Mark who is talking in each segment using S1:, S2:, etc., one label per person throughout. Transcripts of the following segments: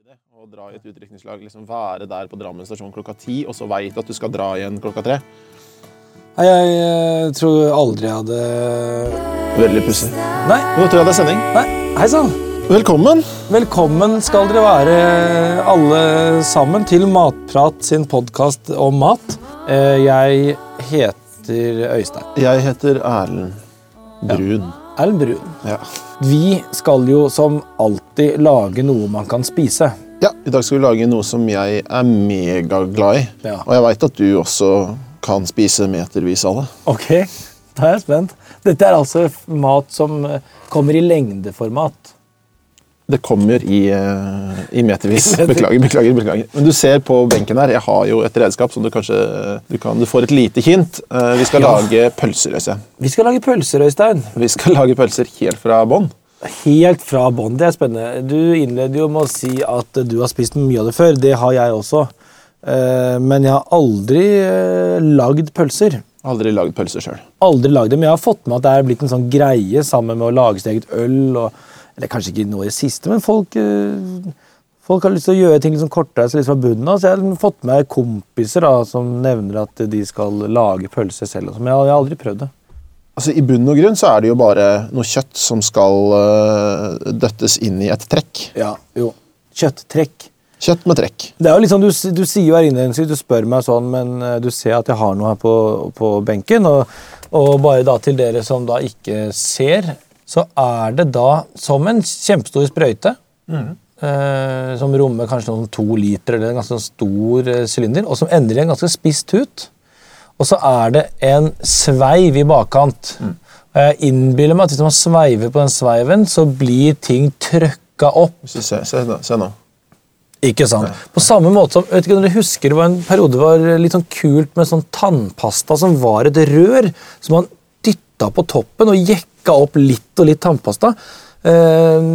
S1: det, å dra i et utdrikningslag, liksom være der på Drammen stasjon klokka ti, og så veit at du skal dra igjen klokka tre.
S2: Nei, jeg eh, tror aldri jeg hadde
S1: Veldig pussig.
S2: Nei,
S1: Nå tror jeg det er sending.
S2: nei, hei sann.
S1: Velkommen.
S2: Velkommen skal dere være alle sammen til Matprat sin podkast om mat. Eh, Jeg heter Øystein.
S1: Jeg heter Erlend Brun.
S2: Erlend Brun.
S1: Ja.
S2: Vi skal jo som alltid lage noe man kan spise.
S1: ja. I dag skal vi lage noe som jeg er megaglad i.
S2: Ja.
S1: Og jeg veit at du også kan spise metervis av det.
S2: Ok, da er jeg spent. Dette er altså f- mat som eh, kommer i lengdeformat.
S1: Det kommer i, eh, i metervis.
S2: meter.
S1: Beklager, beklager. beklager. Men du ser på benken her, jeg har jo et redskap som du kanskje du kan, Du får et lite hint. Eh, Vi skal
S2: Ja.
S1: lage pølser, Øystein.
S2: Vi skal lage pølser, Øystein.
S1: Vi skal lage pølser helt fra bånn.
S2: Helt fra bånn. Det er spennende. Du innleder jo med å si at du har spist mye av det før. Det har jeg også. Eh, Men jeg har aldri eh, lagd pølser.
S1: Aldri lagd pølser sjøl.
S2: Aldri lagd dem. Jeg har fått med at det er blitt en sånn greie sammen med å lage sitt eget øl. Og, eller kanskje ikke nå i det siste, men folk, eh, folk har lyst til å gjøre ting liksom kortreist og litt fra bunnen av. Så jeg har liksom fått med meg kompiser da, som nevner at de skal lage pølser selv. og sånn, Men jeg har- jeg har aldri prøvd det.
S1: Altså, I bunn og grunn så er det jo bare noe kjøtt som skal øh, døttes inn i et trekk.
S2: Ja, jo. Kjøtttrekk.
S1: Kjøtt med trekk.
S2: Det er jo liksom, du, s- du sier jo her innledningsvis, du spør meg sånn, men eh, du ser at jeg har noe her på, på benken. Og, og bare da til dere som da ikke ser, så er det da som en kjempestor sprøyte. Eh, som rommer kanskje noen to liter eller en ganske sånn stor eh, sylinder, og som ender i en ganske spiss tut. Og så er det en sveiv i bakkant. Og Jeg innbiller meg at hvis man sveiver på den sveiven, så blir ting trøkka opp.
S1: Hvis du ser, se, nå- se nå.
S2: Ikke sant? På samme måte som, vet ikke om dere husker, Det var en periode det var litt sånn kult med sånn tannpasta som var et rør, som man dytta på toppen og jekka opp litt og litt tannpasta. Eh,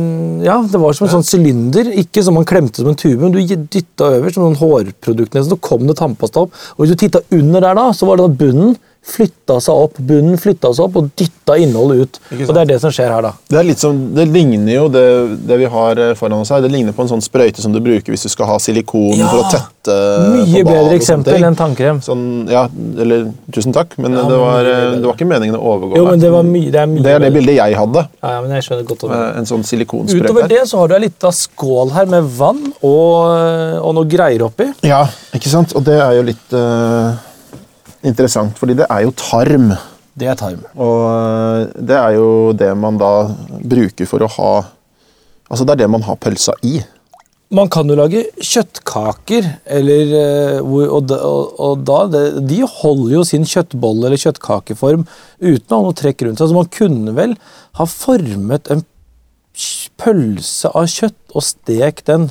S2: ja, Det var som en sånn sylinder, ikke som man klemte som en tube, men du dytta over som noen hårprodukt, nesten, så kom det tannpasta opp. Og Hvis du titta under der, da, så var det da bunnen flytta seg opp, bunnen flytta seg opp og dytta innholdet ut.
S1: Ikke sant?
S2: Og Det er det som skjer her, da.
S1: Det, er litt som, det ligner jo det, det vi har øh, foran oss her. Det ligner på en sånn sprøyte som du bruker hvis du skal ha silikon
S2: Ja.
S1: for å tette eh,
S2: Mye
S1: på bad og
S2: bedre
S1: sånne ting.
S2: eksempel enn tannkrem.
S1: Sånn, ja, eller tusen takk, men
S2: Ja,
S1: det,
S2: men
S1: var,
S2: mye
S1: øh,
S2: bedre.
S1: det var ikke meningen å overgå
S2: Jo,
S1: meg.
S2: men det, var mye, det er mye
S1: det er det
S2: bedre.
S1: bildet jeg hadde.
S2: Ja, ja, men jeg skjønner godt hva du mener.
S1: med En sånn
S2: Utover
S1: silikonsprøyte.
S2: det så har du ei lita skål her med vann og, og noe greier oppi.
S1: Ja, ikke sant? Og det er jo litt øh, interessant, fordi det er jo tarm.
S2: Det er tarm.
S1: Og øh, det er jo det man da bruker for å ha Altså det er det man har pølsa i.
S2: Man kan jo lage kjøttkaker, eller, eh, hvor- og, da- og, og da det, De holder jo sin kjøttbolle- eller kjøttkakeform uten å ha noe trekk rundt seg. Så man kunne vel ha formet en kj- pølse av kjøtt og stekt den,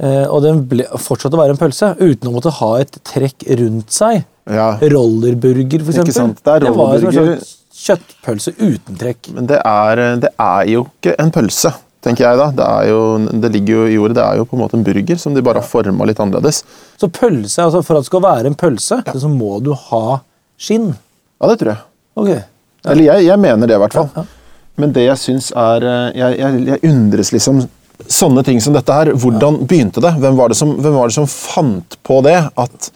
S2: eh, og den ble, fortsatte å være en pølse, uten å måtte ha et trekk rundt seg.
S1: Ja.
S2: Rollerburger, for
S1: Ikke
S2: eksempel.
S1: sant? Det er
S2: var jo som en
S1: rollerburger.
S2: slags kjøttpølse uten trekk.
S1: Men det er, det er jo ikke en pølse, tenker jeg da. Det, er jo, det ligger jo i ordet. Det er jo på en måte en burger som de bare har forma litt annerledes.
S2: Så pølse, altså for at det skal være en pølse, så må du ha skinn.
S1: Ja, det tror jeg.
S2: Ok.
S1: Eller jeg, jeg mener det, i hvert fall. Men det jeg syns er eh, jeg, jeg, jeg undres liksom Sånne ting som dette her, hvordan begynte det? Hvem var det som, hvem var det som fant på det? At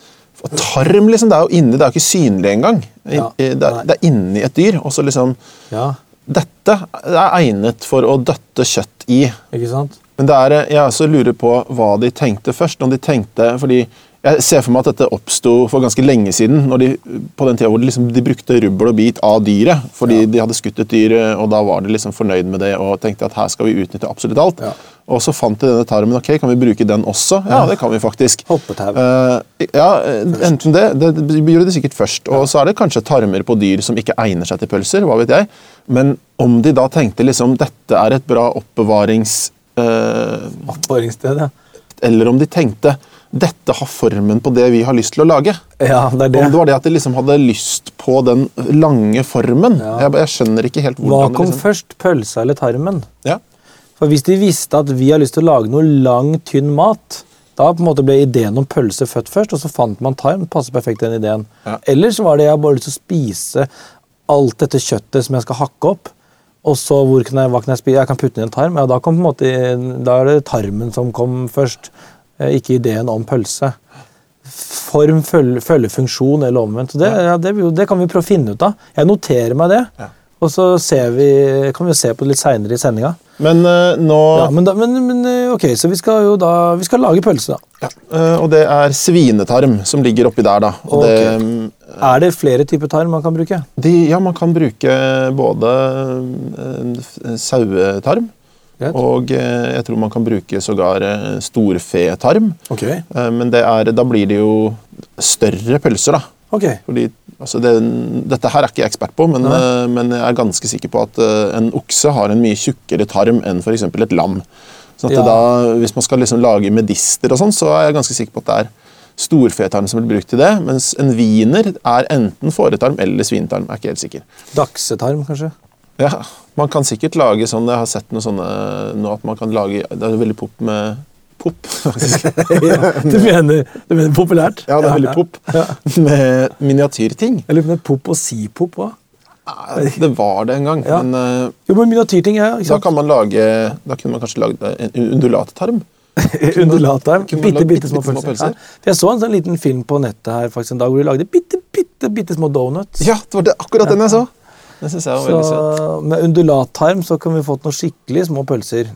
S1: at Tarm liksom, det er jo inni, det er jo ikke synlig engang. I-
S2: Ja,
S1: i- Det,
S2: nei.
S1: er- det er inni et dyr. Og så liksom
S2: Ja,
S1: Dette er egnet for å døtte kjøtt i.
S2: ikke sant?
S1: Men det er, eh, jeg også lurer på hva de tenkte først. Om de tenkte, fordi jeg ser for meg at dette oppsto for ganske lenge siden. Når de, på den tida hvor de, liksom, de brukte rubbel og bit av dyret. Fordi de hadde skutt et dyr, og da var de liksom fornøyd med det og tenkte at her skal vi utnytte absolutt alt.
S2: Ja.
S1: Og så fant de denne tarmen. ok, Kan vi bruke den også? Ja, det kan vi faktisk.
S2: Hoppetau.
S1: Eh, ja, eh, enten det. Det gjorde de sikkert først. Og så er det kanskje tarmer på dyr som ikke egner seg til pølser. hva vet jeg. Men om de da tenkte liksom, dette er et bra oppbevarings... eh,
S2: Oppvaringssted, ja.
S1: eller om de tenkte dette har formen på det vi har lyst til å lage.
S2: Ja, det er det.
S1: Om det var det at de liksom hadde lyst på den lange formen.
S2: Ja.
S1: Jeg, jeg skjønner ikke helt
S2: Hva
S1: hvordan
S2: kom
S1: det liksom...
S2: først, pølsa eller tarmen?
S1: Ja.
S2: For hvis de visste at vi har lyst til å lage noe lang, tynn mat, da på en måte ble ideen om pølse født først, og så fant man tarm. Passer perfekt den ideen.
S1: Ja.
S2: Ellers var det jeg har bare lyst til å spise alt dette kjøttet som jeg skal hakke opp. Og så hvor kan jeg, hva kan jeg spise? Jeg kan putte den i en tarm. Ja, da, kom på en måte, da er det tarmen som kom først, eh, ikke ideen om pølse. Form følger følge funksjon, eller omvendt. Så Det, ja, det, vil jo- det kan vi prøve å finne ut av. Jeg noterer meg det,
S1: Ja.
S2: og så ser vi, kan vi jo se på det litt seinere i sendinga.
S1: Men eh, nå
S2: Ja, men, da- men, men eh, ok, så vi skal jo da Vi skal lage pølse, da.
S1: Ja, eh, Og det er svinetarm som ligger oppi der, da. Og det, mm,
S2: Er det flere typer tarm man kan bruke?
S1: de, ja, man kan bruke både eh, f- sauetarm
S2: Greit.
S1: og eh, jeg tror man kan bruke sågar eh, storfetarm.
S2: Ok.
S1: Eh, Men det er, da blir det jo større pølser, da.
S2: Ok.
S1: Fordi, altså det, dette her er ikke jeg ekspert på, men,
S2: Nei.
S1: eh, men jeg er ganske sikker på at eh, en okse har en mye tjukkere tarm enn for eksempel et lam. Så at det
S2: Ja.
S1: da, hvis man skal liksom lage medister, og sånn, så er jeg ganske sikker på at det er storfetarm som blir brukt til det, mens en wiener er enten fåretarm eller svinetarm. Jeg er ikke helt sikker.
S2: Daksetarm, kanskje?
S1: Ja, Man kan sikkert lage sånn Jeg har sett noe sånne nå at man kan lage Det er veldig pop med Pop, faktisk.
S2: ja, du, mener, du mener populært?
S1: Ja, det er veldig pop.
S2: Ja.
S1: Med miniatyrting.
S2: Jeg lurer på om det er pop og sipop òg.
S1: Nei, Det var det en gang,
S2: Ja.
S1: men eh,
S2: Jo, men miniatyrting er jo ikke
S1: Da
S2: sant?
S1: kan man lage Da kunne man kanskje lagd en undulattarm.
S2: Undulatarm.
S1: kunne man
S2: Bitte,
S1: lage
S2: bitte små
S1: bittesmå
S2: pølser.
S1: pølser?
S2: Ja. For Jeg så en sånn liten film på nettet her faktisk en dag hvor de lagde bitte, bitte, bitte små donuts.
S1: Ja, det var det, akkurat den jeg så! Det synes jeg var
S2: så
S1: veldig søt.
S2: med undulattarm så kan vi fått noen skikkelig små pølser.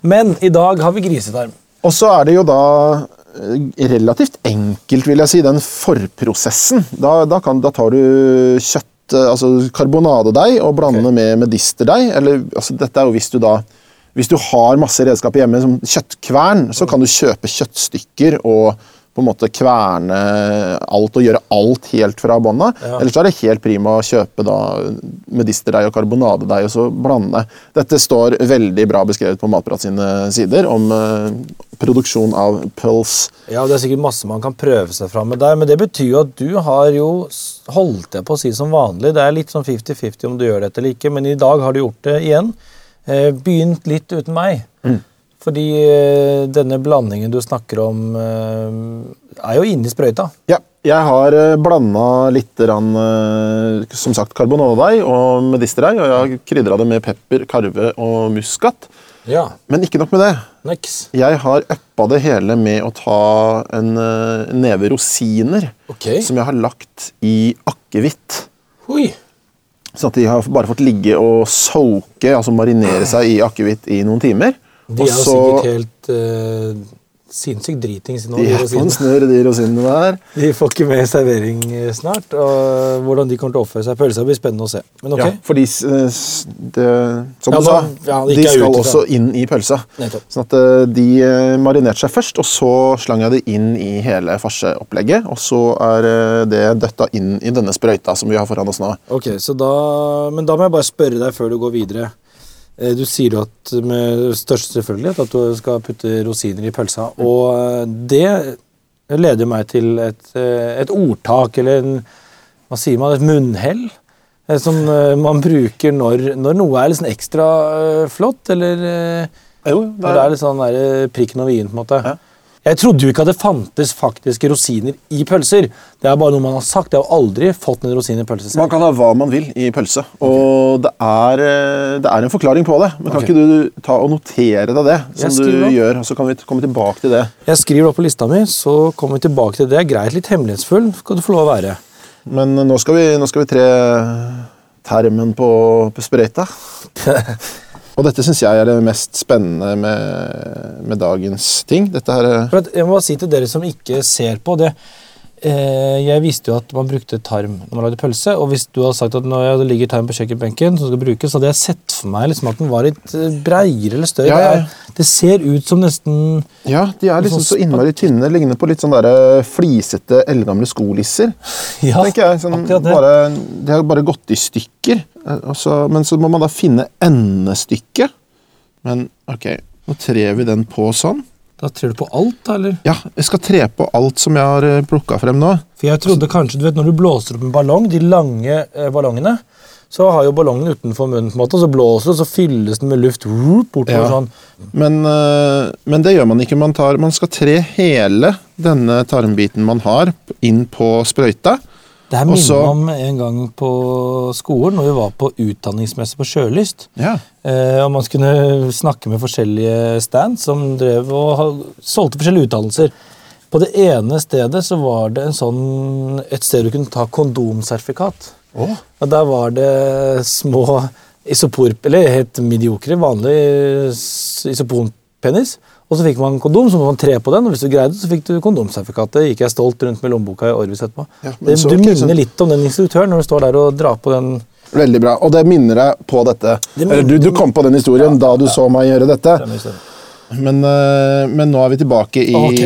S2: Men i dag har vi grisetarm.
S1: Og så er det jo da eh, relativt enkelt, vil jeg si, den forprosessen. Da, da, kan, da tar du kjøtt, eh, altså karbonadedeig, og blander med medisterdeig. Eller altså, dette er jo hvis du da Hvis du har masse redskaper hjemme, som kjøttkvern, så kan du kjøpe kjøttstykker og på en måte kverne alt og gjøre alt helt fra bånda.
S2: Ja.
S1: Ellers er det helt prima å kjøpe da medisterdeig og karbonadedeig og så blande. Dette står veldig bra beskrevet på Matprat sine sider om eh, produksjon av pøls.
S2: Ja, Det er sikkert masse man kan prøve seg fram med der, men det betyr jo at du har jo s- holdt jeg på å si som vanlig. Det er litt sånn 50-50 om du gjør dette eller ikke, men i dag har du gjort det igjen. Eh, begynt litt uten meg.
S1: Mm.
S2: Fordi eh, denne blandingen du snakker om, eh, er jo inni sprøyta.
S1: Ja, jeg har eh, blanda litt rann, eh, som sagt, karbonadedeig og medisterdeig, og jeg har krydra det med pepper, karve og muskat.
S2: Ja.
S1: Men ikke nok med det.
S2: Niks.
S1: Jeg har uppa det hele med å ta en eh, neve rosiner
S2: Ok.
S1: som jeg har lagt i akevitt.
S2: Oi.
S1: Sånn at de har bare fått ligge og soake, altså marinere seg i akevitt i noen timer. Og
S2: De er jo
S1: så-
S2: sikkert helt eh, sinnssykt dritings nå.
S1: De
S2: de
S1: er sånn. på en
S2: rosinene.
S1: snurr, de rosinene der.
S2: De får ikke med servering eh, snart. og eh, Hvordan de kommer til å oppføre seg. Pølsa blir spennende å se. Men ok.
S1: Ja, for de, s- eh, s- det, som
S2: Ja,
S1: du sa,
S2: nå- ja, det
S1: de
S2: gikk jeg
S1: skal
S2: ut ifra.
S1: også inn i pølsa.
S2: Nettopp.
S1: Sånn at eh, de eh, marinerte seg først, og så slang jeg det inn i hele farseopplegget. Og så er eh, det døtta inn i denne sprøyta som vi har foran oss nå.
S2: Ok, så da, Men da må jeg bare spørre deg før du går videre. Eh, Du sier jo at med største selvfølgelighet at du skal putte rosiner i pølsa. Og eh, det leder meg til et, eh, et ordtak, eller en, hva sier man, et munnhell. eh, Som eh, man bruker når, når noe er litt sånn ekstra eh, flott, eller eh,
S1: Jo,
S2: når det er litt sånn der, eh, prikken over i-en. på en måte.
S1: Ja.
S2: Jeg trodde jo ikke at det fantes faktiske rosiner i pølser. Det er bare noe man har sagt. Jeg har jo aldri fått en rosin i pølse selv.
S1: Man kan ha hva man vil i pølse, og det, er, eh, det er en forklaring på det. Men kan
S2: Ok.
S1: ikke du ta og notere deg det, som
S2: Jeg
S1: du
S2: skriver opp.
S1: gjør, og så kan vi t- komme tilbake til det.
S2: Jeg skriver det opp på lista mi, så kommer vi tilbake til det. Greit, litt hemmelighetsfull skal du få lov å være.
S1: Men eh, nå skal vi, nå skal vi tre eh, termen på, på sprøyta. og dette syns jeg er det mest spennende med, med dagens ting. Dette her eh,
S2: For at, jeg må bare si til dere som ikke ser på det eh, Jeg visste jo at man brukte tarm når man lagde pølse, og hvis du hadde sagt at når det ligger tarm på kjøkkenbenken, som skal brukes, så hadde jeg sett for meg liksom at den var litt eh, breiere eller større.
S1: Ja, ja, ja.
S2: Det, er, det ser ut som nesten
S1: Ja, de er liksom
S2: sånn
S1: så innmari tynne. Ligner på litt sånn der, eh, flisete, eldgamle skolisser.
S2: Ja,
S1: tenker jeg. Sånn,
S2: akkurat det.
S1: bare, de har bare gått i stykker. Eh, og så- men så må man da finne endestykket. Men ok, nå trer vi den på sånn.
S2: Da trer du på alt, da, eller?
S1: Ja, jeg skal tre på alt som jeg har plukka frem nå.
S2: For jeg trodde kanskje, du vet Når du blåser opp en ballong, de lange eh, ballongene, så har jo ballongen utenfor munnen, på en måte, og så blåser det, og så fylles den med luft whoop, bortover
S1: Ja.
S2: sånn.
S1: Men, eh, men det gjør man ikke. Man, tar, man skal tre hele denne tarmbiten man har, inn på sprøyta.
S2: Det her
S1: Og
S2: minner
S1: så-
S2: meg om en gang på skolen, når vi var på utdanningsmesse på Sjølyst.
S1: Ja.
S2: Eh, og man kunne snakke med forskjellige stands som drev og ha- solgte forskjellige utdannelser. På det ene stedet så var det en sånn, et sted du kunne ta kondomsertifikat.
S1: Å.
S2: Og der var det små isopor, eller helt mediokre, vanlige s- isoponpenis. Og så fikk man kondom, så måtte man tre på den, og hvis du greide det, så fikk du kondomsertifikat. Det gikk jeg stolt rundt med lommeboka i årevis etterpå.
S1: Ja, men
S2: det,
S1: så
S2: du
S1: ikke
S2: minner
S1: sant?
S2: litt om den instruktøren når du står der og drar på den.
S1: Veldig bra. Og det minner deg på dette.
S2: Det minner-
S1: Eller du, du kom på den historien da du så meg gjøre dette.
S2: Greit.
S1: Men, eh, men nå er vi tilbake i
S2: Ok.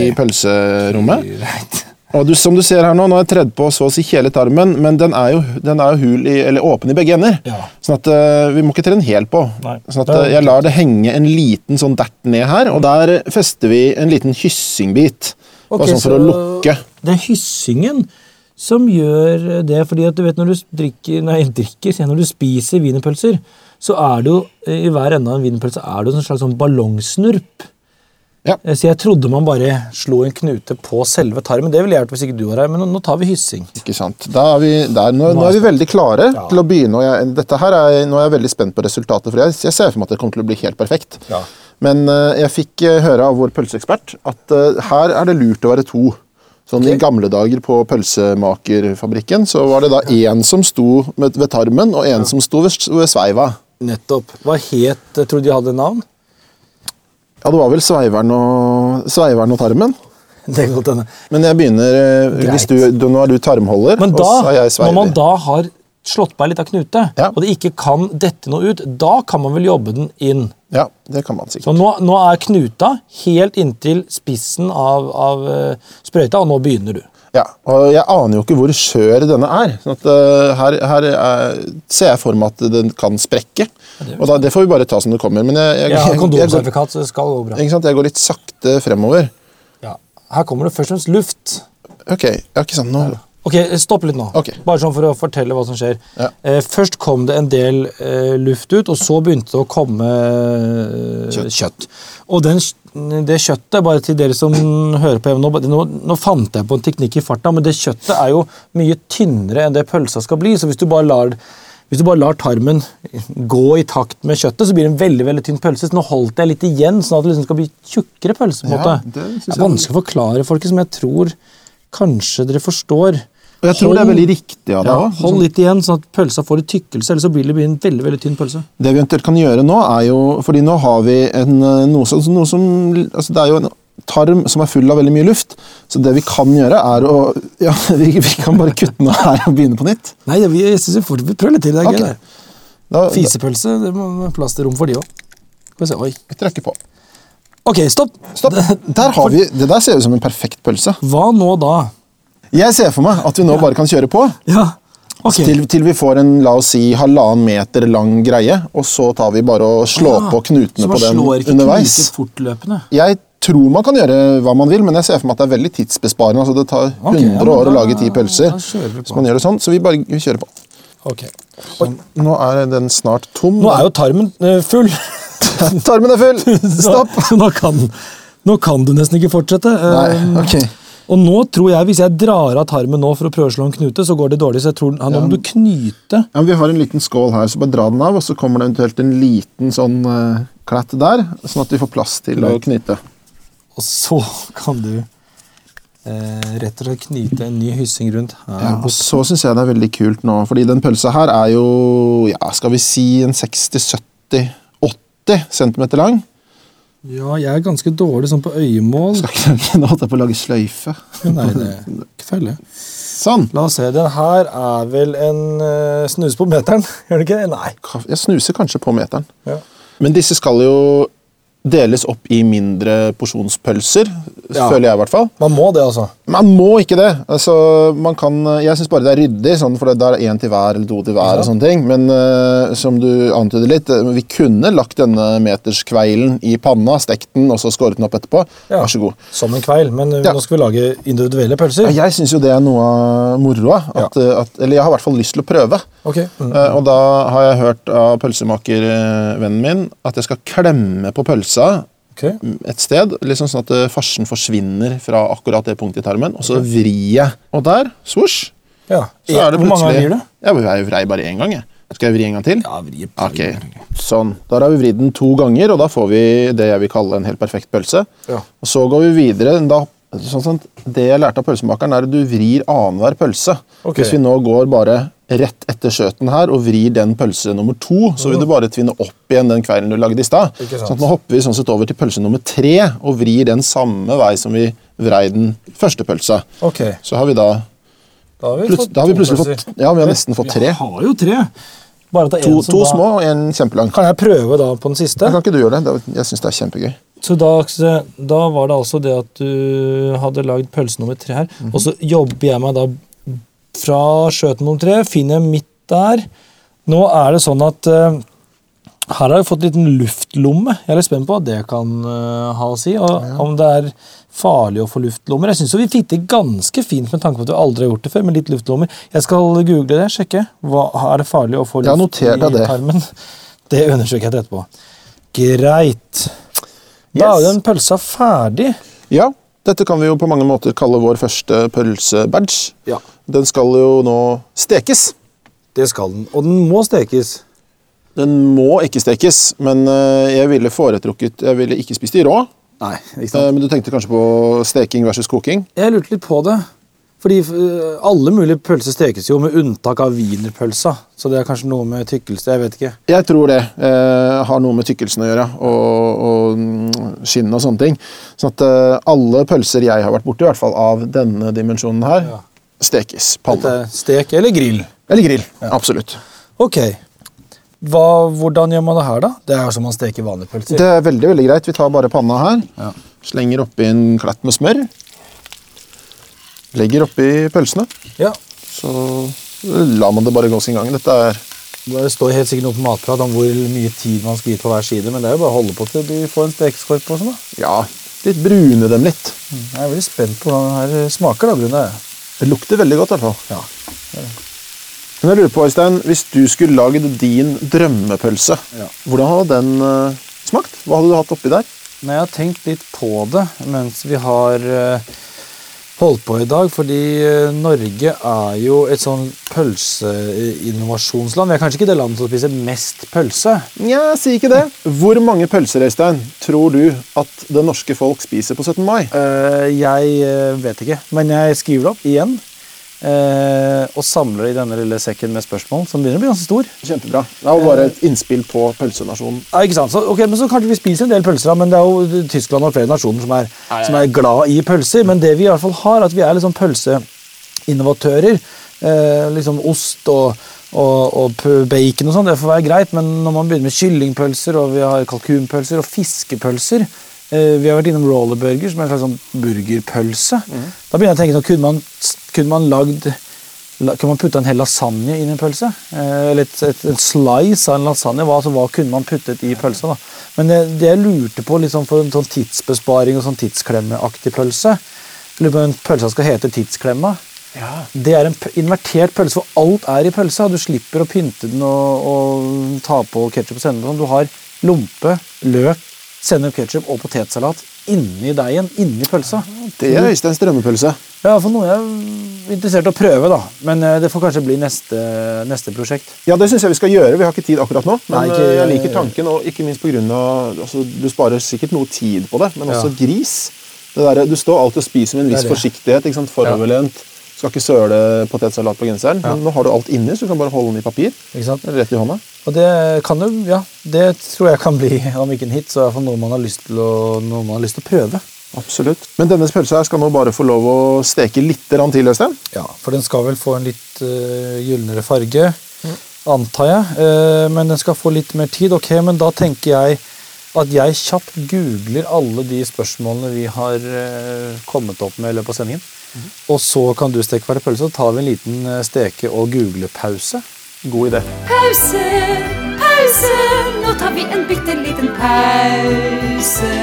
S1: pølserommet. Og du, som du ser her nå, nå har jeg tredd på så å si hele tarmen, men den er jo, den er jo hul i, eller åpen i begge ender.
S2: Ja.
S1: Sånn at eh, vi må ikke tre den helt på.
S2: Nei.
S1: Sånn at eh, jeg lar det henge en liten sånn dert ned her, og der fester vi en liten kyssingbit.
S2: Ok,
S1: bare sånn for
S2: så
S1: å lukke.
S2: Det er hyssingen som gjør det, fordi at du vet når du drikker, nei, drikker, sier jeg, når du spiser wienerpølser, så er det jo, eh, i hver ende av en wienerpølse, er det jo en slags sånn ballongsnurp.
S1: Ja.
S2: Eh, Så jeg trodde man bare slo en knute på selve tarmen. Det ville jeg gjort hvis ikke du var her, men nå- nå tar vi hyssing.
S1: Ikke sant. Da er vi der. Nå, nå er vi veldig klare
S2: Ja.
S1: til å begynne. Og jeg, dette her er, nå er jeg veldig spent på resultatet, for jeg, jeg ser for meg at det kommer til å bli helt perfekt.
S2: Ja.
S1: Men eh, jeg fikk eh, høre av vår pølseekspert at eh, her er det lurt å være to. Sånn I
S2: Ok.
S1: gamle dager på pølsemakerfabrikken så var det da én som sto med, ved tarmen, og én som sto ved, s- ved sveiva.
S2: Nettopp. Hva het Tror du de hadde navn?
S1: Ja, det var vel sveiveren og, sveiveren og tarmen.
S2: Det kan godt hende.
S1: Men jeg begynner eh,
S2: Greit.
S1: hvis du, du, Nå er du tarmholder,
S2: Men
S1: og så er
S2: da,
S1: jeg
S2: når
S1: sveiver.
S2: man da har slått på ei lita knute,
S1: Ja.
S2: og det ikke kan dette noe ut, da kan man vel jobbe den inn.
S1: Ja, det kan man sikkert.
S2: Så nå, nå er knuta helt inntil spissen av, av eh, sprøyta, og nå begynner du.
S1: Ja, og jeg aner jo ikke hvor skjør denne er. Sånn at, eh, her her eh, ser jeg for meg at den kan sprekke. og da, Det får vi bare ta som det kommer. Men jeg, jeg,
S2: Jeg har
S1: jeg, jeg, går,
S2: kondomsertifikat, så det skal gå bra.
S1: ikke sant? jeg går litt sakte fremover.
S2: Ja. Her kommer det først og fremst luft.
S1: Ok, ja, ikke sant, nå.
S2: Ok, Stopp litt nå.
S1: Ok.
S2: Bare sånn for å fortelle hva som skjer.
S1: Ja.
S2: Eh, først kom det en del eh, luft ut, og så begynte det å komme eh,
S1: Kjøtt.
S2: Og den, det kjøttet, bare til dere som hører på nå, nå, nå fant jeg på en teknikk i farta, men det kjøttet er jo mye tynnere enn det pølsa skal bli. Så hvis du bare lar, hvis du bare lar tarmen gå i takt med kjøttet, så blir det en veldig veldig tynn pølse. Så nå holdt jeg litt igjen, sånn at det liksom skal bli tjukkere pølse. på en
S1: Ja,
S2: måte.
S1: det synes
S2: det
S1: jeg-
S2: er vanskelig å forklare, folkens, men jeg tror kanskje dere forstår.
S1: Og jeg tror det er veldig riktig av
S2: Ja,
S1: deg òg.
S2: hold litt igjen, sånn at pølsa får litt tykkelse, ellers så blir det blir en veldig veldig tynn pølse.
S1: Det vi eventuelt kan gjøre nå, er jo Fordi nå har vi en, eh, noe som, noe som altså Det er jo en tarm som er full av veldig mye luft. Så det vi kan gjøre, er å Ja, vi, vi kan bare kutte den av her og begynne på nytt.
S2: Nei, det- vi, jeg synes vi, får, vi prøver litt til. det er
S1: Ok.
S2: gøy. det.
S1: Da, da
S2: Fisepølse, det må være plass til rom for de òg. Skal vi se, oi.
S1: vi trykker på.
S2: Ok, stopp.
S1: Stopp. Der har vi, det der ser ut som en perfekt pølse.
S2: Hva nå da?
S1: Jeg ser for meg at vi nå bare kan kjøre på
S2: Ja, ok.
S1: til, til vi får en la oss si, halvannen meter lang greie, og så tar vi bare og slår
S2: Ah,
S1: på knutene
S2: så
S1: på
S2: man
S1: den
S2: slår ikke
S1: underveis.
S2: knuter fortløpende.
S1: Jeg tror man kan gjøre hva man vil, men jeg ser for meg at det er veldig tidsbesparende. altså Det tar 100
S2: Ok, ja, men
S1: år å
S2: da-
S1: lage ti pølser.
S2: da kjører vi på.
S1: så man gjør det sånn, så vi bare vi kjører på.
S2: Ok.
S1: Sånn. Nå er den snart tom.
S2: Nå er jo tarmen eh, full.
S1: Tarmen er full!
S2: Så-
S1: Stopp!
S2: så Nå kan, nå kan du nesten ikke fortsette. Eh,
S1: Nei, ok.
S2: Og nå tror jeg, Hvis jeg drar av tarmen nå for å prøve å slå en knute, så går det dårlig. så jeg tror Nå må du knyte
S1: Ja, men vi har en liten skål her, så bare dra den av, og så kommer det eventuelt en liten sånn eh, klatt der, sånn at vi får plass til å knyte.
S2: Og så kan du eh, rett og slett knyte en ny hyssing rundt her.
S1: Ja, og så syns jeg det er veldig kult nå, fordi den pølsa her er jo, ja, skal vi si en 60-70-80 cm lang.
S2: Ja, jeg er ganske dårlig sånn på øyemål.
S1: Skal ikke tenke, nå holdt jeg på å lage sløyfe.
S2: Nei, det er ikke feil, det.
S1: Sånn.
S2: La oss se. Den her er vel en eh, snus på meteren? Gjør det ikke det? Nei.
S1: Ka- Jeg snuser kanskje på meteren.
S2: Ja.
S1: Men disse skal jo deles opp i mindre porsjonspølser,
S2: Ja.
S1: føler jeg i hvert fall.
S2: Man må det, altså.
S1: Man må ikke det. Altså, man kan, jeg syns bare det er ryddig, sånn, for det der er én til hver eller to til hver. og sånne ting. Men eh, som du antyder litt, eh, vi kunne lagt denne meterskveilen i panna, stekt den og så skåret den opp etterpå.
S2: Ja.
S1: Vær så god.
S2: Som en kveil. Men eh,
S1: Ja.
S2: nå skal vi lage individuelle pølser.
S1: Jeg syns jo det er noe av moroa. at, eh, at- Eller jeg har i hvert fall lyst til å prøve.
S2: Ok. Mm.
S1: Eh, Og da har jeg hørt av pølsemakervennen min at jeg skal klemme på pølsa
S2: ok.
S1: et sted, liksom sånn at eh, farsen forsvinner fra akkurat det punktet i tarmen, og så vrir jeg. Og der, svosj,
S2: Ja.
S1: Så er det
S2: Hvor mange
S1: plutselig
S2: ganger vrir du?
S1: Jeg vrei- vrei bare én gang. jeg. Skal jeg vri en gang til?
S2: Ja, vrir på
S1: Ok, sånn. Da har vi vridd den to ganger, og da får vi det jeg vil kalle en helt perfekt pølse.
S2: Ja.
S1: Og så går vi videre. Da, sånn, sånn, det jeg lærte av pølsemakeren, er at du vrir annenhver pølse.
S2: Ok.
S1: Hvis vi nå går bare rett etter skjøten her og vrir den pølse nummer to, så vil du bare tvinne opp igjen den kvelden du lagde i stad.
S2: Mhm. Ikke sant.
S1: Sånn at nå hopper vi sånn sett over til pølse nummer tre og vrir den samme vei som vi vrei den første pølsa.
S2: Ok,
S1: Så har vi da,
S2: da har vi,
S1: plut,
S2: fått
S1: da har vi
S2: to
S1: plutselig
S2: pølser.
S1: fått Ja, vi har nesten fått tre.
S2: Jeg har jo tre. Bare ta en
S1: To,
S2: som
S1: to
S2: da-
S1: små og en kjempelang.
S2: Kan jeg prøve da på den siste?
S1: Kan ikke du gjøre det? Det- Jeg syns det er kjempegøy.
S2: Så da, Aksel, da var det altså det at du hadde lagd pølse nummer tre her,
S1: Mhm.
S2: og så jobber jeg meg da fra skjøten nummer tre, finner jeg midt der. Nå er det sånn at eh, her har jeg fått en liten luftlomme. Jeg er litt spent på hva det kan eh, ha å si, og om det er farlig å få luftlommer. Jeg syns vi fikk det ganske fint med tanke på at vi aldri har gjort det før, med litt luftlommer. Jeg skal google det, sjekke. Hva, er det farlig å få
S1: Jeg har
S2: luft
S1: notert deg
S2: i
S1: det.
S2: tarmen? Det undersøker jeg etterpå. Greit. Da er jo
S1: Yes.
S2: den pølsa ferdig.
S1: Ja, dette kan vi jo på mange måter kalle vår første pølsebadge.
S2: Ja.
S1: Den skal jo nå stekes.
S2: Det skal den. Og den må stekes.
S1: Den må ikke stekes, men eh, jeg ville foretrukket Jeg ville ikke spist de rå.
S2: Nei, ikke
S1: Eh, Men du tenkte kanskje på steking versus koking?
S2: Jeg lurte litt på det. Fordi øh, alle mulige pølser stekes jo, med unntak av wienerpølsa. Så det er kanskje noe med tykkelse. Jeg vet ikke.
S1: Jeg tror det eh, har noe med tykkelsen å gjøre, og, og mm, skinn og sånne ting. Sånn at eh, alle pølser jeg har vært borti, i hvert fall av denne dimensjonen her,
S2: Ja.
S1: stekes.
S2: Dette
S1: Panne.
S2: er stek eller grill.
S1: Eller grill. Absolutt.
S2: Ok. Hva, hvordan gjør man det her, da? Det er jo som man steker vanlige pølser.
S1: Det er veldig veldig greit. Vi tar bare panna her.
S2: Ja.
S1: Slenger oppi en klatt med smør. Legger oppi pølsene.
S2: Ja.
S1: Så lar man det bare gå sin gang. Dette er
S2: Det står helt sikkert noe på Matprat om hvor mye tid man skal gi på hver side, men det er jo bare å holde på til du får en stekeskorpe og sånn, da.
S1: ja, litt brune dem litt.
S2: Mm, Jeg er veldig spent på hvordan den her smaker, da, Brune.
S1: Det lukter veldig godt. i hvert fall.
S2: Ja.
S1: Men jeg lurer på, Øystein, Hvis du skulle lagd din drømmepølse,
S2: Ja.
S1: hvordan hadde den eh, smakt? Hva hadde du hatt oppi der?
S2: Nei, jeg har tenkt litt på det mens vi har eh, holdt på i dag, fordi eh, Norge er jo et sånn pølseinnovasjonsland. Vi er kanskje ikke det landet som spiser mest pølse.
S1: Nja, si ikke det. Hvor mange pølser Øystein, tror du at det norske folk spiser på 17. mai?
S2: Eh, jeg eh, vet ikke, men jeg skriver det opp igjen. eh, og samler det i denne lille sekken med spørsmål, som begynner å bli ganske stor.
S1: Kjempebra. Det var bare et innspill på pølsenasjonen.
S2: Ja, ikke sant? Så, ok, men så Kanskje vi spiser en del pølser, da, men det er jo Tyskland og flere nasjoner som er, som er glad i pølser. Men det vi i hvert fall har, er at vi er liksom pølseinnovatører. Eh, liksom ost og, og, og p- bacon og sånn, det får være greit, men når man begynner med kyllingpølser, og vi har kalkunpølser og fiskepølser eh, Vi har vært innom rollerburger, som er en slags sånn burgerpølse. Da begynner jeg å tenke sånn, kunne man, kunne man lagd La- Kunne man putte en hel lasagne inn i en pølse? Eh, Eller et, et, en slice av en lasagne? Hva, altså, hva kunne man puttet i pølsa? da? Men det, det jeg lurte på liksom for en sånn tidsbesparing og sånn tidsklemmeaktig pølse jeg Lurer på om pølsa skal hete tidsklemma.
S1: Ja.
S2: Det er en p- invertert pølse hvor alt er i pølsa. Du slipper å pynte den og, og ta på ketsjup og sennep. og sånn. Du har lompe, løk, sennep, ketsjup og potetsalat inni deigen, inni pølsa.
S1: Det er Øysteins drømmepølse.
S2: Det er i hvert fall noe jeg er interessert i å prøve, da. Men eh, det får kanskje bli neste, neste prosjekt.
S1: Ja, det synes jeg vi skal gjøre. Vi har ikke tid akkurat nå. Men
S2: Nei, ikke-
S1: eh, jeg liker tanken, og ikke minst på grunn av altså, Du sparer sikkert noe tid på det, men også
S2: Ja.
S1: gris. Det derre- du står alltid og spiser med en
S2: Det er
S1: viss
S2: det.
S1: forsiktighet. ikke sant? Foroverlent. Skal ikke søle potetsalat på genseren. Men nå har du alt inni, så du kan bare holde den i papir.
S2: Ikke sant?
S1: Rett i hånda.
S2: Og det kan jo, ja, det tror jeg kan bli, om ikke en hit, så i hvert fall noe man har lyst til å, noe man har lyst til å prøve.
S1: Absolutt. Men denne pølsa her skal nå bare få lov å steke litt grann til, Øystein.
S2: Ja, for den skal vel få en litt uh, gylnere farge, antar jeg. Eh, men den skal få litt mer tid. Ok, men da tenker jeg at jeg kjapt googler alle de spørsmålene vi har eh, kommet opp med i løpet av sendingen. Og så kan du steke ferdig pølse, og så tar vi en liten eh, steke- og googlepause.
S1: God idé.
S3: Pause, pause, nå tar vi en bitte liten pause.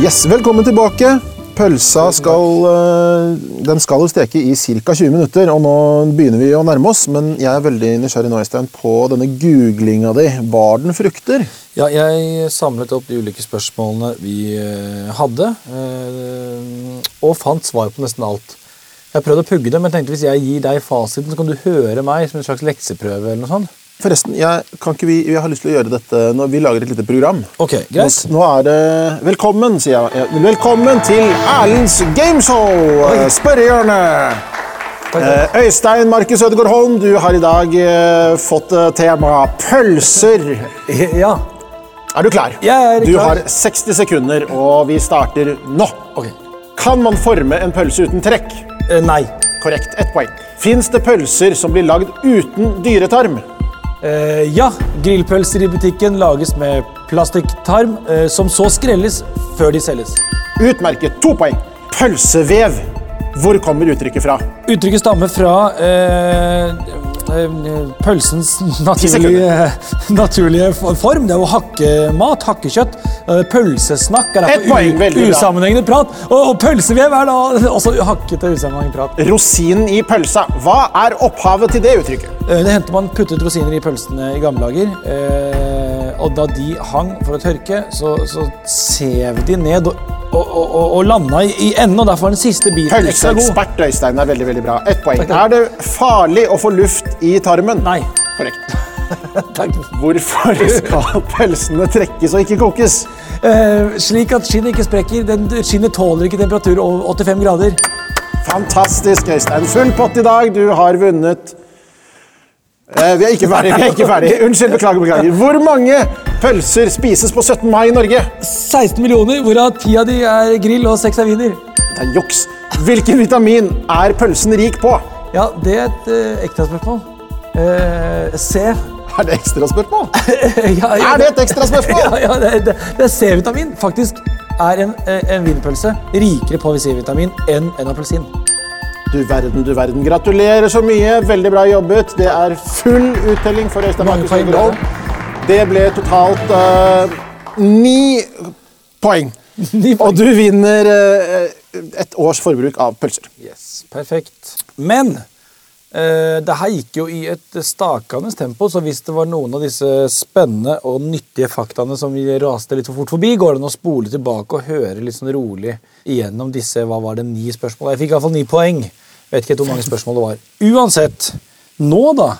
S1: Yes, Velkommen tilbake. Pølsa skal, eh, den skal jo steke i ca. 20 minutter. og Nå begynner vi å nærme oss, men jeg er veldig nysgjerrig nå, Øystein, på denne googlinga di. Bar den frukter?
S2: Ja, jeg samlet opp de ulike spørsmålene vi eh, hadde, eh, og fant svar på nesten alt. Jeg har prøvd å pugge det, men tenkte hvis jeg gir deg fasiten, så kan du høre meg som en slags lekseprøve eller noe sånt.
S1: Forresten, jeg, kan ikke vi, jeg har lyst til å gjøre dette når vi lager et lite program.
S2: Ok,
S1: Nå,
S2: greit.
S1: nå er det Velkommen, sier jeg. Ja, Velkommen til Erlends gameshow! eh, Spørrehjørne!
S2: Takk.
S1: Eh, Øystein Markus Ødegaard Holm, du har i dag eh, fått eh, tema pølser.
S2: Ja.
S1: Er du klar?
S2: Jeg er
S1: du
S2: klar.
S1: har 60 sekunder, og vi starter nå.
S2: Ok.
S1: Kan man forme en pølse uten trekk?
S2: Eh, Nei.
S1: Korrekt. Ett poeng. Fins det pølser som blir lagd uten dyretarm?
S2: Eh, ja, grillpølser i butikken lages med plastikktarm, eh, som så skrelles før de selges.
S1: Utmerket. To poeng. Pølsevev. Hvor kommer uttrykket fra?
S2: Uttrykket stammer fra eh, eh, pølsens naturlige, naturlige for- form. Det er jo hakkemat, hakkekjøtt. Eh, Pølsesnakk er
S1: Ett poeng, veldig
S2: u-
S1: bra.
S2: usammenhengende prat. Og pølsevev er da også hakkete, usammenhengende prat.
S1: Rosinen i pølsa. Hva er opphavet til det uttrykket?
S2: Eh, Det hendte man puttet rosiner i pølsene i gamle dager. Eh, og da de hang for å tørke, så, så sev de ned og, og, og, og- og landa i, i enden. Og derfor var den siste biten ekstra god.
S1: Pølseekspert Øystein er veldig veldig bra. Ett poeng.
S2: Takk, takk.
S1: Er det farlig å få luft i tarmen?
S2: Nei.
S1: Korrekt.
S2: Takk.
S1: Hvorfor skal pølsene trekkes og ikke kokes?
S2: Eh, slik at skinnet ikke sprekker. Den, skinnet tåler ikke temperatur over 85 grader.
S1: Fantastisk, Øystein. Full pott i dag. Du har vunnet eh, Vi er ikke ferdig. vi er ikke ferdig. Unnskyld, beklager, beklager. Hvor mange pølser spises på 17. mai i Norge?
S2: 16 millioner, hvorav 10 av de er grill og 6 er wiener.
S1: Det er juks. Hvilken vitamin er pølsen rik på?
S2: Ja, det er et eh, ekte spørsmål. Eh, C.
S1: Er det ekstraspørsmål?
S2: ja, ja,
S1: Er det et ekstra
S2: Ja,
S1: spørsmål?
S2: ja, det, det, det er C-vitamin. Faktisk er en, eh, en wienerpølse rikere på C-vitamin enn en appelsin.
S1: Du verden, du verden. Gratulerer så mye. Veldig bra jobbet. Det er full uttelling for Øystein
S2: Mange
S1: Markus
S2: poeng
S1: Ødegaard. Det ble totalt eh, ni poeng.
S2: Ni
S1: Og du vinner eh, et års forbruk av pølser.
S2: Yes, perfekt. Men eh, det her gikk jo i et stakende tempo, så hvis det var noen av disse spennende og nyttige faktaene som vi raste litt for fort forbi, går det an å spole tilbake og høre litt sånn rolig igjennom disse hva var det, ni spørsmål. Jeg fikk iallfall ni poeng. Vet ikke helt hvor mange spørsmål det var. Uansett, nå da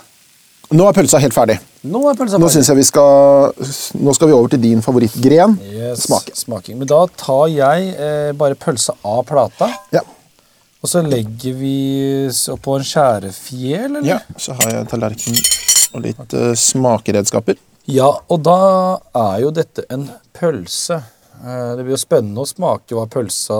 S1: Nå er pølsa helt ferdig.
S2: Nå er pølsa
S1: Nå,
S2: ferdig.
S1: synes jeg vi skal, nå skal vi over til din favorittgren.
S2: Yes,
S1: Smake.
S2: Smaking. Men da tar jeg eh, bare pølsa av plata,
S1: Ja.
S2: og så legger vi s- på en skjærefjel, eller?
S1: ja. Så har jeg tallerken og litt eh, smakeredskaper.
S2: Ja, og da er jo dette en pølse. Eh, Det blir jo spennende å smake hva pølsa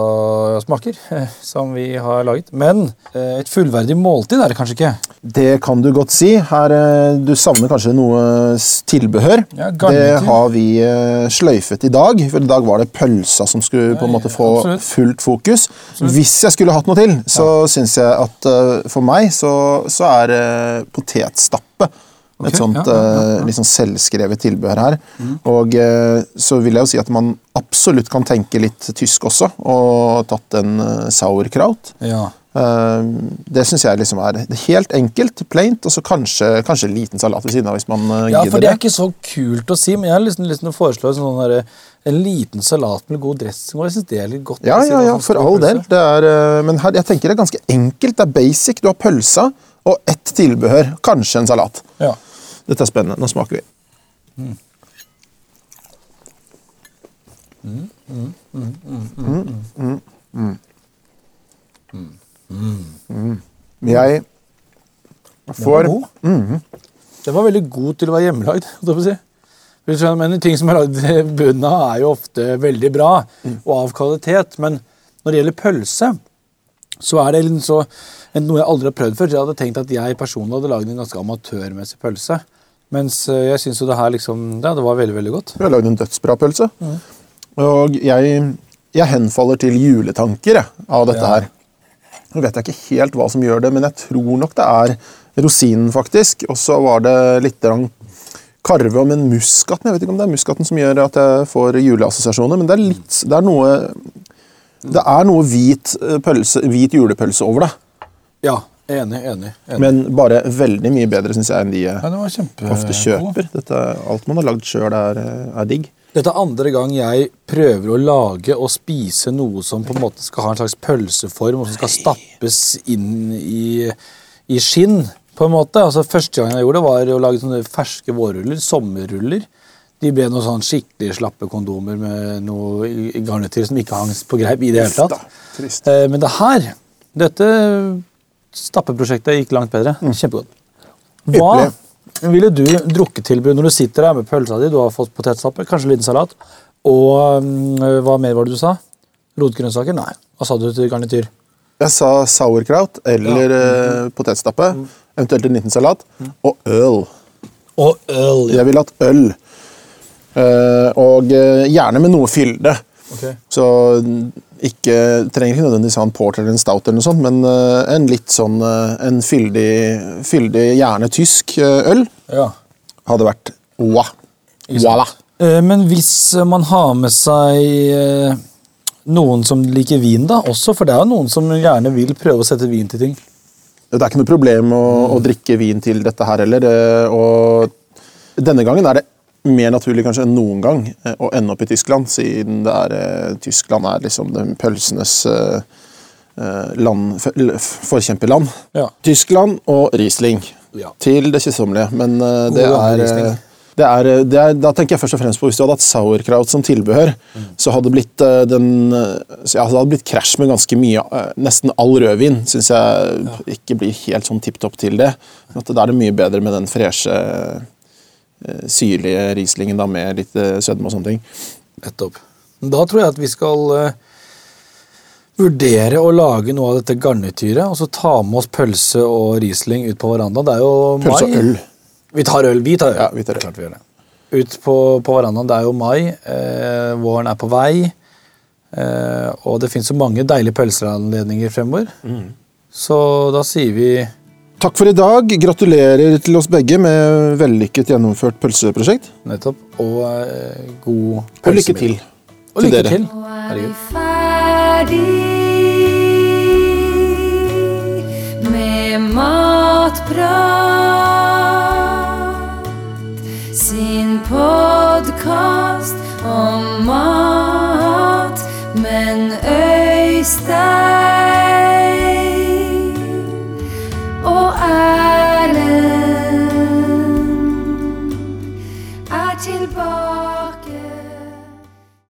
S2: smaker, eh, som vi har laget. Men eh, et fullverdig måltid er det kanskje ikke?
S1: Det kan du godt si. Her, eh, du savner kanskje noe s- tilbehør.
S2: Ja, garnityr.
S1: det har vi eh, sløyfet i dag, for i dag var det pølsa som skulle på en måte få
S2: absolutt.
S1: fullt fokus. Hvis jeg skulle hatt noe til, så synes syns jeg at eh, for meg så, så er eh, potetstappe
S2: Ok,
S1: et sånt
S2: ja, ja, ja, Mm.
S1: eh, litt sånn selvskrevet tilbehør her. Og eh, så vil jeg jo si at man absolutt kan tenke litt tysk også, og tatt en eh, sauerkraut.
S2: Ja.
S1: Eh, Det syns jeg liksom er helt enkelt, plaint, og så kanskje, kanskje en liten salat ved siden av. hvis man eh,
S2: ja, for
S1: gidder
S2: det
S1: det.
S2: er ikke så kult å si, men jeg har liksom lyst til å foreslå en, sånn derre- en liten salat med god dressing. og Jeg syns det er litt godt.
S1: Ja,
S2: å si
S1: ja,
S2: hva
S1: ja,
S2: som
S1: for
S2: står i
S1: all
S2: pølse.
S1: del. Det er, eh, men her, jeg tenker det er ganske enkelt. Det er basic. Du har pølsa og ett tilbehør. Kanskje en salat.
S2: Ja.
S1: Dette er spennende. Nå smaker vi. Mm. Jeg
S2: Den var
S1: får
S2: god. Den var veldig god til å være hjemmelagd. holdt jeg på å si. For du skjønner, Men ting som er lagd i bunnen av, er jo ofte veldig bra og av kvalitet. Men når det gjelder pølse, så er det liksom så, en- noe jeg aldri har prøvd før. så Jeg hadde tenkt at jeg personlig hadde lagd en ganske amatørmessig pølse. Mens eh, jeg syns jo det her liksom Ja, det var veldig, veldig godt.
S1: Vi har lagd en dødsbra pølse. Og jeg, jeg henfaller til juletanker jeg, av dette
S2: Ja.
S1: her. Nå vet jeg ikke helt hva som gjør det, men jeg tror nok det er rosinen, faktisk. Og så var det litt grann karve om en muskat. Jeg vet ikke om det er muskaten som gjør at jeg får juleassosiasjoner, men det er litt Det er noe, det er noe hvit, eh, pølse, hvit julepølse over det.
S2: Ja, enig, enig. enig.
S1: Men bare veldig mye bedre, syns jeg, enn de jeg
S2: Ja, det var kjempe...
S1: ofte kjøper. Dette, alt man har lagd sjøl, er, eh, er digg.
S2: Dette er andre gang jeg prøver å lage og spise noe som på en måte skal ha en slags pølseform, og som skal stappes inn i, i skinn. på en måte. Altså, første gang jeg gjorde det, var å lage sånne ferske vårruller, sommerruller. De ble noen sånn skikkelig slappe kondomer med noe i- i garnityr som ikke hang på greip. i det
S1: da.
S2: hele tatt.
S1: Trist.
S2: Eh, Men det her, dette stappeprosjektet gikk langt bedre.
S1: Mm.
S2: Kjempegodt. Hva
S1: Ypperlig.
S2: ville du drukket til når du sitter her med pølsa di, du har fått potetstappe, kanskje en liten salat, og mm, hva mer var det du sa? Rotgrønnsaker? Nei. Hva sa du til garnityr?
S1: Jeg sa sauerkraut eller eh, potetstappe, eventuelt en liten salat, og øl.
S2: Og øl.
S1: Jeg ville hatt øl. Eh, og eh, gjerne med noe fylde.
S2: Ok.
S1: Så mm, ikke, trenger ikke nødvendigvis ha en porter eller en stout, eller noe sånt, men eh, en litt sånn eh, en fyldig, fyldig, gjerne tysk eh, øl
S2: Ja.
S1: hadde vært wa. Voilà.
S2: Eh, Men hvis eh, man har med seg eh, noen som liker vin, da, også, for det er jo noen som gjerne vil prøve å sette vin til ting.
S1: Det er ikke noe problem å, å
S2: Mm.
S1: drikke vin til dette her heller. eh, Og denne gangen er det mer naturlig kanskje enn noen gang eh, å ende opp i Tyskland, siden det er, eh, Tyskland er liksom den pølsenes eh, eh, land, f- l- f- forkjemperland.
S2: Ja.
S1: Tyskland og Riesling
S2: Ja.
S1: til det kjedsommelige, men eh, det
S2: God gammel
S1: er,
S2: Riesling.
S1: eh, det er, eh, det er Da tenker jeg først og fremst på hvis du hadde hatt sauerkraut som tilbehør, så hadde det blitt eh, den eh, så ja, så hadde det blitt krasj med ganske mye eh, Nesten all rødvin syns jeg ikke blir helt sånn tipp topp til det. At da er det mye bedre med den freshe, eh, syrlige Rieslingen da, med litt eh, sødme og sånne ting.
S2: Nettopp. Da tror jeg at vi skal eh, vurdere å lage noe av dette garnityret, og så ta med oss pølse og Riesling ut på verandaen. Det er jo mai.
S1: Pølse og øl.
S2: Vi tar øl. Vi tar øl.
S1: Ja, vi tar øl.
S2: Klart vi gjør det. Ut på, på verandaen. Det er jo mai. Eh, våren er på vei. Eh, og det fins så mange deilige pølseanledninger fremover.
S1: Mm.
S2: Så da sier vi
S1: Takk for i dag. Gratulerer til oss begge med vellykket gjennomført pølseprosjekt.
S2: nettopp og eh, god
S1: Og lykke til.
S2: Og lykke
S1: dere.
S2: til.
S3: Nå er vi
S2: Herregud.
S3: ferdig med matprat. Sin podkast om mat, men Øystein